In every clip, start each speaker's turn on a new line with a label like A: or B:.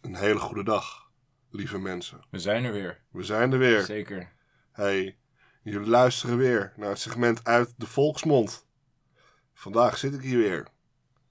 A: Een hele goede dag, lieve mensen.
B: We zijn er weer.
A: We zijn er weer.
B: Zeker.
A: Hey, jullie luisteren weer naar het segment uit de volksmond. Vandaag zit ik hier weer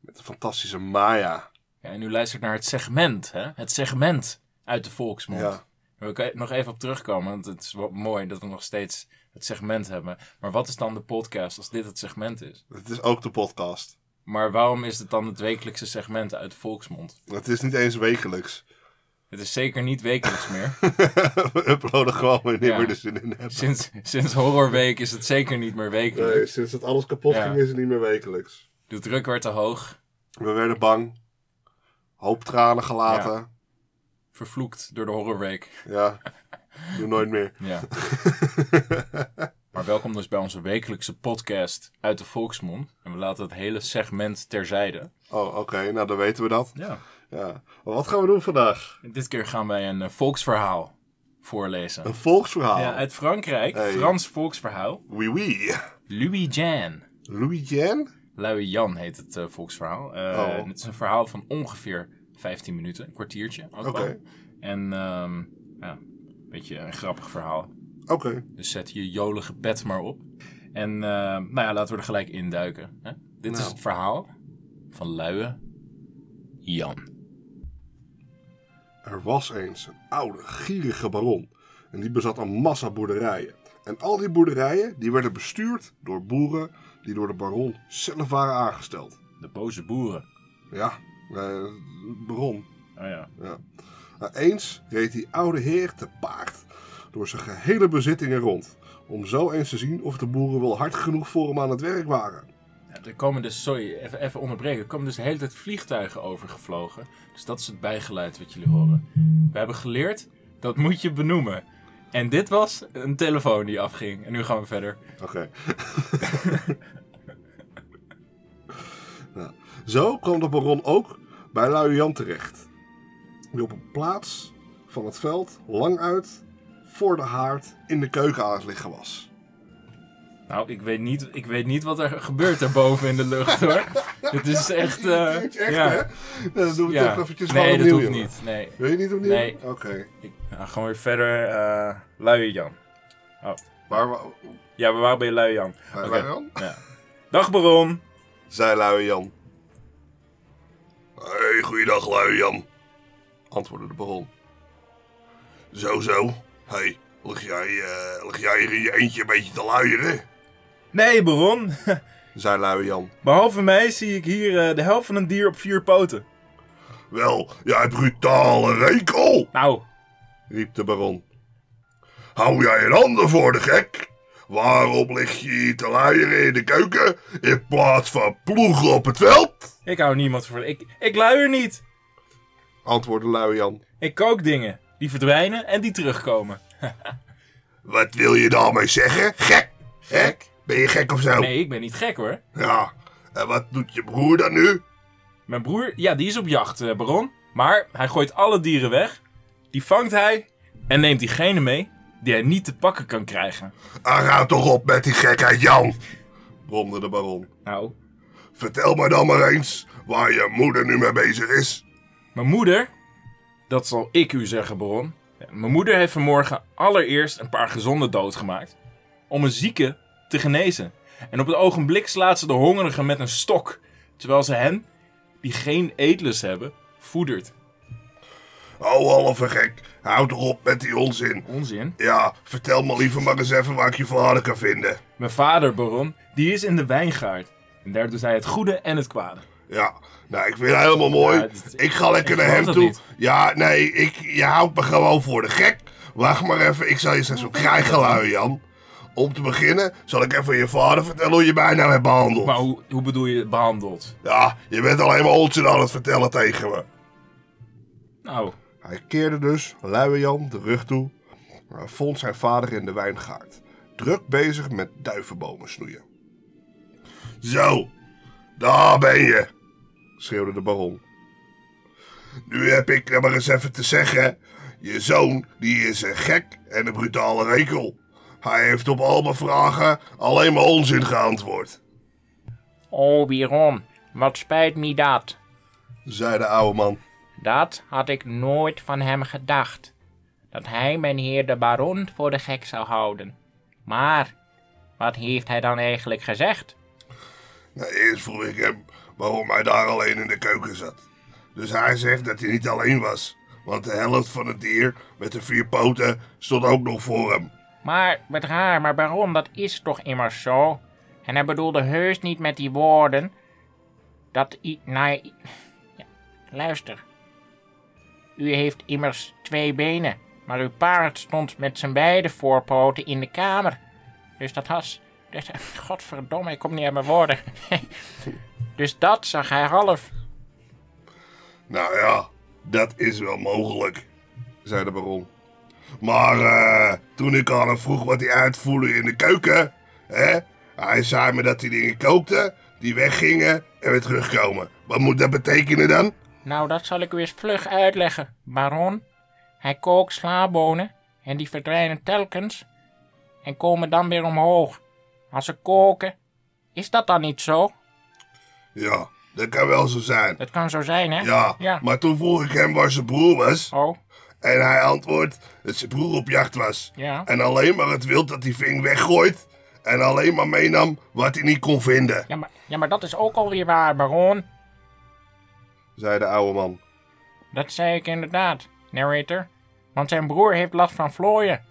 A: met de fantastische Maya.
B: Ja, en u luistert naar het segment, hè? Het segment uit de volksmond.
A: Ja.
B: Daar wil ik e- nog even op terugkomen, want het is wel mooi dat we nog steeds het segment hebben. Maar wat is dan de podcast als dit het segment is?
A: Het is ook de podcast.
B: Maar waarom is het dan het wekelijkse segment uit de volksmond?
A: Het is niet eens wekelijks.
B: Het is zeker niet wekelijks meer.
A: We uploaden gewoon wanneer
B: Ja.
A: we er zin in hebben.
B: Sinds, sinds Horrorweek is het zeker niet meer wekelijks.
A: Nee, sinds dat alles kapot
B: Ja.
A: ging is het niet meer wekelijks.
B: De druk werd te hoog,
A: We werden bang. Hoop tranen gelaten.
B: vervloekt door de Horrorweek.
A: Ja. Doe nooit meer.
B: Ja. Maar welkom dus bij onze wekelijkse podcast uit de volksmond. En we laten het hele segment terzijde.
A: oh, oké. Nou, dan weten we dat.
B: Ja.
A: Ja. Maar wat gaan we doen vandaag?
B: Dit keer gaan wij een eh, volksverhaal voorlezen.
A: Een volksverhaal.
B: Ja, uit Frankrijk,
A: Hey.
B: Frans volksverhaal.
A: Oui, oui.
B: Louis Jan.
A: Louis Jan?
B: Louis Jan heet het eh, volksverhaal. Eh,
A: Oh.
B: Het is een verhaal van ongeveer 15 minuten, een kwartiertje. ook wel.
A: Oké.
B: En ehm, ja, een beetje een grappig verhaal.
A: Oké.
B: Dus zet je jolige pet maar op. En eh, nou ja, laten we er gelijk induiken. Hè? Dit is
A: Nou.
B: het verhaal van luie Jan.
A: Er was eens een oude, gierige baron. En die bezat een massa boerderijen. En al die boerderijen die werden bestuurd door boeren die door de baron zelf waren aangesteld.
B: De boze boeren.
A: Ja, eh, baron.
B: Oh ja.
A: Ja. Maar eens reed die oude heer te paard door zijn gehele bezittingen rond. Om zo eens te zien of de boeren wel hard genoeg voor hem aan het werk waren.
B: Ja, Er komen dus, sorry, even, even onderbreken. Er komen dus de hele tijd vliegtuigen overgevlogen. Dus dat is het bijgeluid wat jullie horen. We hebben geleerd, dat moet je benoemen. En dit was een telefoon die afging. En nu gaan we verder.
A: Oké. nou, zo kwam de baron ook bij Lui Jan terecht. Die op een plaats van het veld, lang uit, voor de haard, in de keuken aan het liggen was.
B: Nou, ik weet niet, ik weet niet wat er gebeurt daarboven in de lucht hoor. Dit is echt. eh,
A: Echt, echt,
B: ja.
A: hè? Nou, dan doen we
B: Ja.
A: toch eventjes
B: Nee,
A: gewoon
B: dat
A: opnieuw,
B: hoeft
A: jongen.
B: niet. Nee.
A: Wil je niet opnieuw?
B: Nee.
A: Oké.
B: Ik nou, ga gewoon weer verder. eh Luie Jan.
A: Maar, wa-
B: Ja, we waren bij Luie Jan.
A: waar
B: Oké.
A: waren we dan?
B: Ja. Dag Baron.
A: zei Luie Jan. Hé, hey, goeiedag Luie Jan, antwoordde de baron. Zo, zo. Hé, hey, lig, jij, eh, lig jij hier in je eentje een beetje te luieren?
B: Nee, Baron.
A: zei Luie Jan.
B: Behalve mij zie ik hier eh, de helft van een dier op vier poten.
A: Wel, jij brutale rekel,
B: Nou,
A: riep de baron. Hou jij een handen voor de gek? Waarom lig je hier te luieren in de keuken in plaats van ploegen op het veld?
B: ik hou niemand voor. Ik, ik luier niet.
A: antwoordde Luie Jan.
B: Ik kook dingen. Die verdwijnen en die terugkomen.
A: Wat wil je daar mee zeggen? Gek? Gek? Ben je gek of zo?
B: Nee, ik ben niet gek hoor.
A: Ja. En wat doet je broer dan nu?
B: Mijn broer, ja, die is op jacht, eh, Baron. Maar hij gooit alle dieren weg. Die vangt hij en neemt diegene mee die hij niet te pakken kan krijgen.
A: Ah, Raad toch op met die gekheid, Jan! bromde de baron.
B: Nou,
A: Vertel me dan maar eens waar je moeder nu mee bezig is.
B: Mijn moeder, dat zal ik u zeggen, Baron. Mijn moeder heeft vanmorgen allereerst een paar gezonden doodgemaakt. Om een zieke te genezen. En op het ogenblik slaat ze de hongerigen met een stok. Terwijl ze hen, die geen eetlust hebben, voedert.
A: Oh, halve gek. Houd toch op met die onzin.
B: Onzin.
A: Ja, vertel me liever maar eens even waar ik je vader kan vinden.
B: Mijn vader, Baron, die is in de wijngaard. En daar doet hij het goede en het kwade.
A: Ja, nou, ik vind het helemaal mooi.
B: Ja, het is-
A: ik ga lekker
B: ik
A: naar
B: geloof
A: hem
B: dat
A: toe.
B: niet.
A: Ja, nee, ik, je houdt me gewoon voor de gek. Wacht maar even, ik zal je straks op krijgen, lui Jan. Om te beginnen zal ik even je vader vertellen hoe je mij nou hebt behandeld.
B: Maar hoe, hoe bedoel je behandeld?
A: Ja, je bent alleen maar onzin aan het vertellen tegen me.
B: Nou,
A: Hij keerde dus, luie Jan, de rug toe. Maar vond zijn vader in de wijngaard. Druk bezig met duivenbomen snoeien. Zo, daar ben je, schreeuwde de baron. Nu heb ik er maar eens even te zeggen. Je zoon, die is een gek en een brutale rekel. Hij heeft op al mijn vragen alleen maar onzin geantwoord,
C: Oh, Biron, wat spijt me dat.
A: zei de oude man.
C: Dat had ik nooit van hem gedacht. Dat hij mijn heer de baron voor de gek zou houden. Maar, wat heeft hij dan eigenlijk gezegd?
A: Nou, eerst vroeg ik hem waarom hij daar alleen in de keuken zat. Dus hij zegt dat hij niet alleen was, want de helft van het dier met de vier poten stond ook nog voor hem.
C: Maar, wat raar, maar baron, dat is toch immers zo? En hij bedoelde heus niet met die woorden. Dat i. Nou, i- ja, luister. U heeft immers twee benen, maar uw paard stond met zijn beide voorpoten in de kamer. Dus dat was. Dus, godverdomme, ik kom niet uit mijn woorden. dus dat zag hij half.
A: Nou ja, dat is wel mogelijk, zei de baron. Maar eh, toen ik aan hem vroeg wat hij uitvoerde in de keuken, hè, hij zei me dat hij dingen kookte, die weggingen en weer terugkomen. Wat moet dat betekenen dan?
C: Nou, dat zal ik u eens vlug uitleggen, baron. Hij kookt slaabonen en die verdwijnen telkens en komen dan weer omhoog. Als ze koken, is dat dan niet zo?
A: Ja, dat kan wel zo zijn.
C: Dat kan zo zijn, hè?
A: Ja,
C: Eh, Ja.
A: maar toen vroeg ik hem waar zijn broer was
C: Oh,
A: en hij antwoordt dat zijn broer op jacht was.
C: ja.
A: En alleen maar het wild dat hij ving weggooit en alleen maar meenam wat hij niet kon vinden,
C: Ja maar, ja, maar dat is ook alweer waar, baron.
A: zei de oude man.
C: Dat zei ik inderdaad, narrator. Want zijn broer heeft last van vlooien.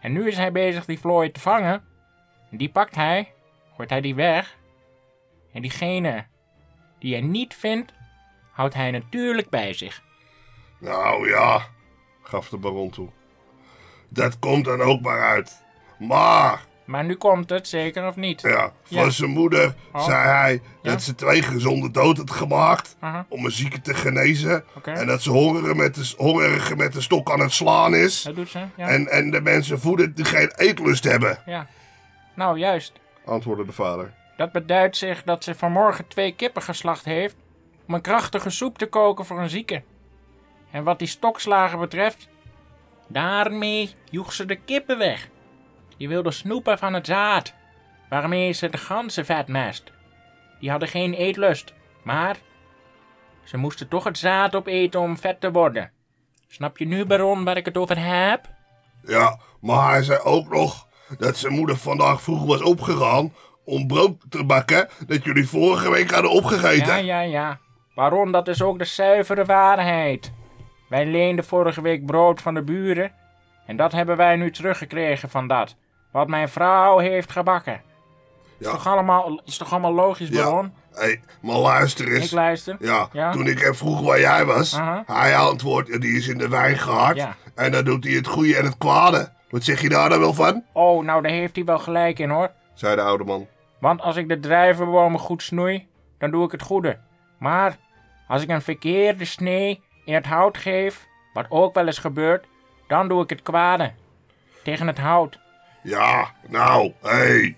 C: En nu is hij bezig die vlooien te vangen. En die pakt hij, gooit hij die weg. En diegene die hij niet vindt, houdt hij natuurlijk bij zich.
A: Nou ja, gaf de baron toe. Dat komt dan ook maar uit. Maar,
C: Maar nu komt het, zeker of niet?
A: ja, van
C: Ja.
A: zijn moeder
C: Oh.
A: zei hij
C: Ja.
A: dat ze twee gezonde dood had gemaakt
C: Aha.
A: om een zieke te genezen.
C: Oké.
A: En dat ze hongerigen met, de, hongerige met de stok aan het slaan is.
C: Dat doet ze, ja.
A: En, en de mensen voeden die geen eetlust hebben,
C: ja. Nou, juist.
A: antwoordde de vader.
C: Dat beduidt zich dat ze vanmorgen twee kippen geslacht heeft om een krachtige soep te koken voor een zieke. En wat die stokslagen betreft, daarmee joeg ze de kippen weg. Die wilde snoepen van het zaad, waarmee ze de ganzen vetmest. Die hadden geen eetlust, maar ze moesten toch het zaad opeten om vet te worden. Snap je nu, baron, waar ik het over heb?
A: Ja, maar hij zei ook nog dat zijn moeder vandaag vroeg was opgegaan om brood te bakken dat jullie vorige week hadden opgegeten.
C: Ja, ja, ja. Baron, dat is ook de zuivere waarheid. Wij leenden vorige week brood van de buren. En dat hebben wij nu teruggekregen van dat. Wat mijn vrouw heeft gebakken.
A: Ja.
C: Toch allemaal, is toch allemaal logisch,
A: Ja.
C: Baron?
A: Hey, maar luister eens.
C: Ik luister.
A: Ja,
C: Ja.
A: toen ik hem vroeg waar jij was,
C: Aha.
A: hij antwoordt, "Ja, die is in de wijn gehard.
C: Ja.
A: En dan doet hij het goede en het kwade. Wat zeg je daar dan wel van?
C: Oh, nou daar heeft hij wel gelijk in hoor.
A: zei de oude man.
C: Want als ik de drijvenbomen goed snoei, dan doe ik het goede. Maar als ik een verkeerde snee in het hout geef, wat ook wel eens gebeurt, dan doe ik het kwade. Tegen het hout.
A: Ja, nou, hé, hey,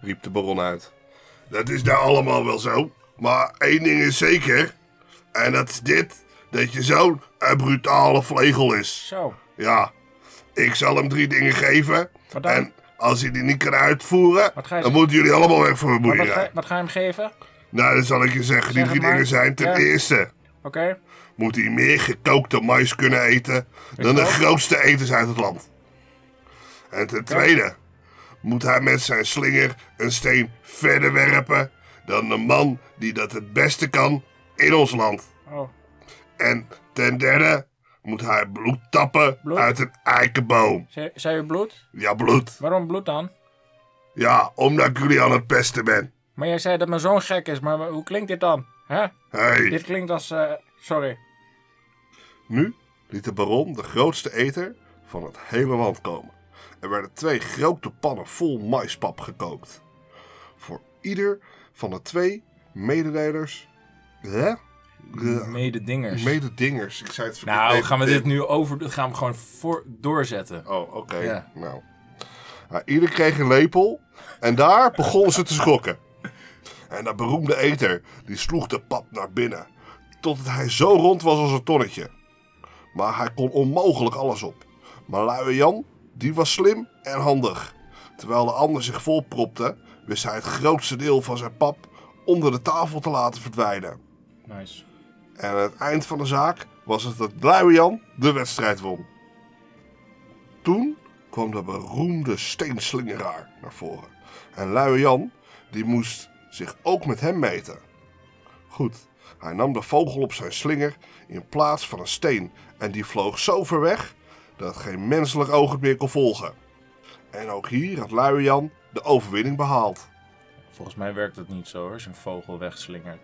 A: riep de baron uit. Dat is daar allemaal wel zo. Maar één ding is zeker. En dat is dit, dat je zo'n eh, brutale vlegel is.
C: Zo.
A: Ja, ik zal hem drie dingen geven.
C: Wat dan?
A: En als hij die niet kan uitvoeren,
C: Wat ga
A: dan
C: je zeggen?
A: moeten jullie allemaal weg voor mijn
C: Maar Wat
A: boerderij.
C: ga, wat ga je hem geven? Oké.
A: Nou, dan zal ik je zeggen, die
C: Zeg het
A: drie
C: maar.
A: dingen zijn. Ten
C: Ja.
A: eerste moet hij meer gekookte mais kunnen eten dan de
C: ook.
A: grootste eters uit het land. En ten tweede moet hij met zijn slinger een steen verder werpen dan de man die dat het beste kan in ons land.
C: Oh,
A: En ten derde moet hij bloed tappen
C: Bloed?
A: uit een eikenboom.
C: zei, zei u bloed?
A: Ja, bloed.
C: Waarom bloed dan?
A: Ja, omdat ik jullie aan het pesten ben.
C: Maar jij zei dat mijn zoon gek is, maar hoe klinkt dit dan? Hè?
A: Hey.
C: Dit klinkt als, eh, sorry.
A: Nu liet de baron de grootste eter van het hele land komen. Er werden twee grote pannen vol maispap gekookt. Voor ieder van de twee mededelers. Hè? De-
B: Mededingers.
A: Mededingers. Ik zei het verkeerd.
B: Mm. nou, gaan we dit
A: Mededing-
B: nu over... Gaan we gewoon voor, doorzetten.
A: Oh, oké.
B: Ja.
A: Nou. Nou, Ieder kreeg een lepel en daar begonnen ze te schokken. En dat beroemde eter die sloeg de pap naar binnen, totdat hij zo rond was als een tonnetje. Maar hij kon onmogelijk alles op. Maar luie Jan, die was slim en handig. Terwijl de ander zich volpropte, wist hij het grootste deel van zijn pap onder de tafel te laten verdwijnen.
B: Nice.
A: En het eind van de zaak was het dat Luian de wedstrijd won. Toen kwam de beroemde steenslingeraar naar voren. En Luian die moest zich ook met hem meten. Goed, hij nam de vogel op zijn slinger in plaats van een steen. En die vloog zo ver weg dat geen menselijk oog het meer kon volgen. En ook hier had Luian de overwinning behaald.
B: Volgens mij werkt dat niet zo hoor, als je een vogel wegslingert.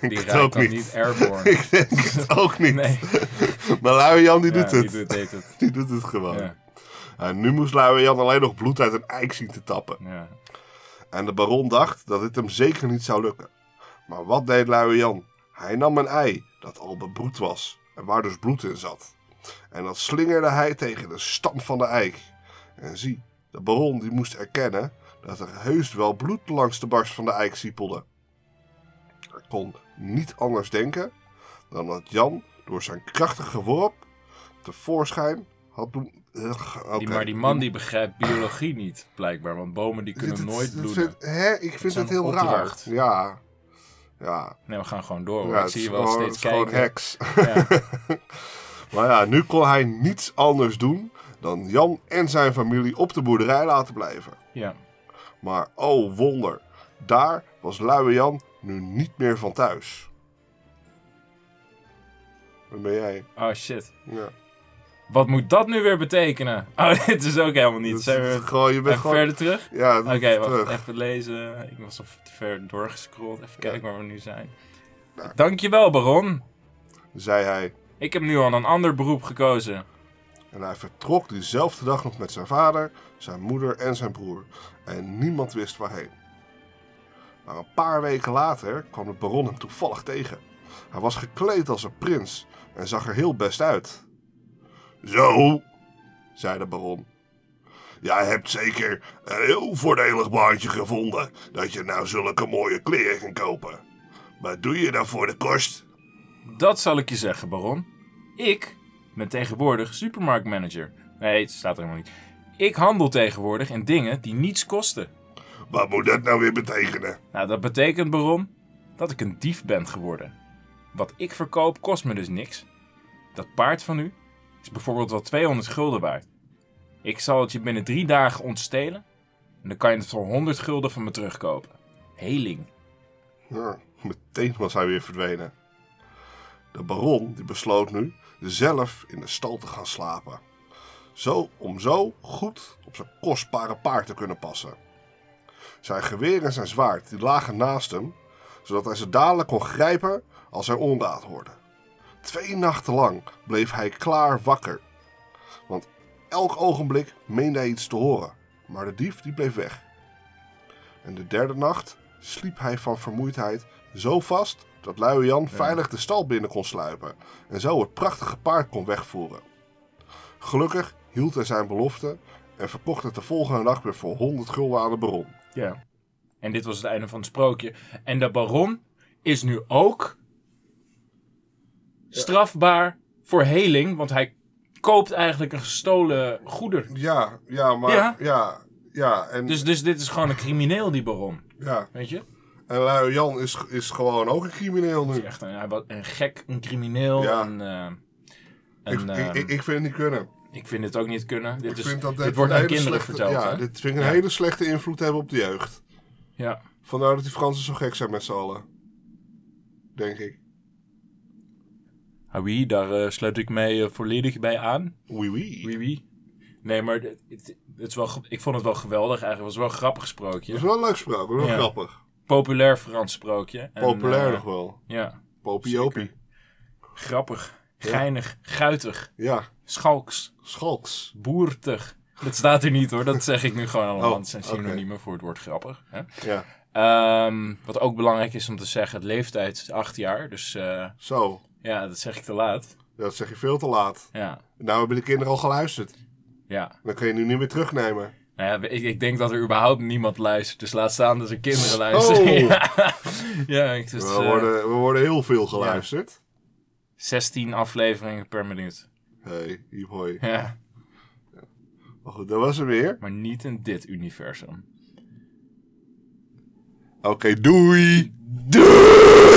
A: Ik
B: Die
A: denk
B: raakt dan niet airborne.
A: Ik denk het ook niet.
B: Nee.
A: Maar Luian die doet
B: Ja,
A: het.
B: Die doet, deed het.
A: Die doet het gewoon.
B: Ja.
A: En nu moest Luian alleen nog bloed uit een eik zien te tappen.
B: Ja.
A: En de baron dacht dat dit hem zeker niet zou lukken. Maar wat deed Luian? Hij nam een ei dat al bebroed was en waar dus bloed in zat. En dat slingerde hij tegen de stam van de eik. En zie, de baron die moest erkennen dat er heus wel bloed langs de barst van de eik siepelde. Hij kon niet anders denken dan dat Jan door zijn krachtige worp tevoorschijn had doen... eh, Ugh,
B: Die,
A: oké.
B: maar die man die begrijpt biologie niet, blijkbaar. Want bomen die kunnen
A: Dit- dit-
B: nooit
A: dit
B: bloeden.
A: vind- hè? Ik vind
B: zijn
A: het heel raar.
B: opdracht.
A: Ja. Ja.
B: Nee, we gaan gewoon door. hoor.
A: ja,
B: Oh, ik
A: het
B: zie
A: is
B: je wel
A: gewoon-
B: steeds
A: het is gewoon
B: kijken.
A: heks.
B: Ja.
A: maar ja, nu kon hij niets anders doen dan Jan en zijn familie op de boerderij laten blijven.
B: ja.
A: Maar oh wonder, daar was luie Jan nu niet meer van thuis. Waar ben jij?
B: Oh shit.
A: Ja.
B: Wat moet dat nu weer betekenen? Oh, dit is ook helemaal
A: Dat
B: niet.
A: is
B: Zijn we
A: gewoon, je bent
B: even
A: gewoon...
B: verder terug?
A: Ja,
B: Oké, wacht.
A: terug.
B: Even lezen. Ik was al te ver doorgescrolld. Even
A: Ja.
B: kijken waar we nu zijn.
A: Nou.
B: Dankjewel, Baron.
A: zei hij.
B: Ik heb nu al een ander beroep gekozen.
A: En hij vertrok diezelfde dag nog met zijn vader, zijn moeder en zijn broer. En niemand wist waarheen. Maar een paar weken later kwam de baron hem toevallig tegen. Hij was gekleed als een prins en zag er heel best uit. Zo, zei de baron. Jij hebt zeker een heel voordelig baantje gevonden dat je nou zulke mooie kleren kan kopen. Maar doe je dan voor de kost?
B: Dat zal ik je zeggen, Baron. Ik ben tegenwoordig supermarktmanager. Nee, het staat er helemaal niet. Ik handel tegenwoordig in dingen die niets kosten.
A: Wat moet dat nou weer betekenen?
B: Nou, dat betekent, Baron, dat ik een dief ben geworden. Wat ik verkoop kost me dus niks. Dat paard van u is bijvoorbeeld wel 200 gulden waard. Ik zal het je binnen drie dagen ontstelen en dan kan je het voor 100 gulden van me terugkopen. Heling.
A: Ja, meteen was hij weer verdwenen. De baron die besloot nu zelf in de stal te gaan slapen. Zo om zo goed op zijn kostbare paard te kunnen passen. Zijn geweer en zijn zwaard die lagen naast hem, zodat hij ze dadelijk kon grijpen als hij onraad hoorde. Twee nachten lang bleef hij klaar wakker. Want elk ogenblik meende hij iets te horen, maar de dief die bleef weg. En de derde nacht sliep hij van vermoeidheid zo vast dat Luie Jan veilig de stal binnen kon sluipen en zo het prachtige paard kon wegvoeren. Gelukkig hield hij zijn belofte en verkocht het de volgende nacht weer voor 100 gulden aan de baron.
B: Ja. En dit was het einde van het sprookje. En de baron is nu ook strafbaar voor heling, want hij koopt eigenlijk een gestolen goeder.
A: Ja, ja, maar
B: Ja?
A: ja, ja, en
B: Dus, dus dit is gewoon een crimineel, die baron.
A: ja.
B: Weet je?
A: En Luie Jan is, is gewoon ook een crimineel
B: Hij
A: nu.
B: is echt een, hij was een gek, een crimineel.
A: Ja.
B: Een, eh,
A: Ik,
B: een,
A: ik,
B: ehm,
A: ik, ik vind het niet kunnen.
B: ik vind het ook niet kunnen. Dit,
A: Ik
B: is,
A: vind dat
B: dit wordt aan
A: hele
B: kinderen
A: slechte-
B: verteld.
A: Ja,
B: hè?
A: dit vind ik een
B: Ja.
A: hele slechte invloed hebben op de jeugd.
B: ja.
A: Vandaar dat die Fransen zo gek zijn met z'n allen. Denk ik.
B: Ah oui, daar eh, sluit ik mij eh, volledig bij aan.
A: Oui, oui.
B: Wie wie? Nee, maar het, het- het is wel, ge- ik vond het wel geweldig eigenlijk. Het was wel een grappig
A: Dat is
B: sprookje.
A: wel een leuk spraak, wel
B: Ja.
A: grappig.
B: Populair Frans sprookje. En,
A: Populair
B: eh,
A: nog wel.
B: ja,
A: Popiopie.
B: grappig, geinig, guitig,
A: Ja,
B: schalks,
A: Schalks.
B: boertig. Dat staat er niet hoor, dat zeg ik nu gewoon allemaal.
A: Oh,
B: het zijn
A: oké.
B: synoniemen voor het woord grappig. Hè?
A: Ja,
B: Ehm, wat ook belangrijk is om te zeggen, het leeftijd is acht jaar. Dus eh,
A: zo.
B: ja, dat zeg ik te laat.
A: Dat zeg je veel te laat.
B: Ja,
A: Nou hebben de kinderen al geluisterd.
B: ja.
A: Dan kun je nu niet meer terugnemen.
B: Nou ja, ik, ik denk dat er überhaupt niemand luistert. Dus laat staan dat er kinderen luisteren.
A: Oh.
B: Ja, ja ik, dus,
A: We
B: eh,
A: worden, we worden heel veel geluisterd.
B: 16 afleveringen per minuut.
A: Hey, hiep hoi.
B: Ja,
A: Maar goed, dat was hem weer.
B: maar niet in dit universum.
A: Oké, doei! Doei!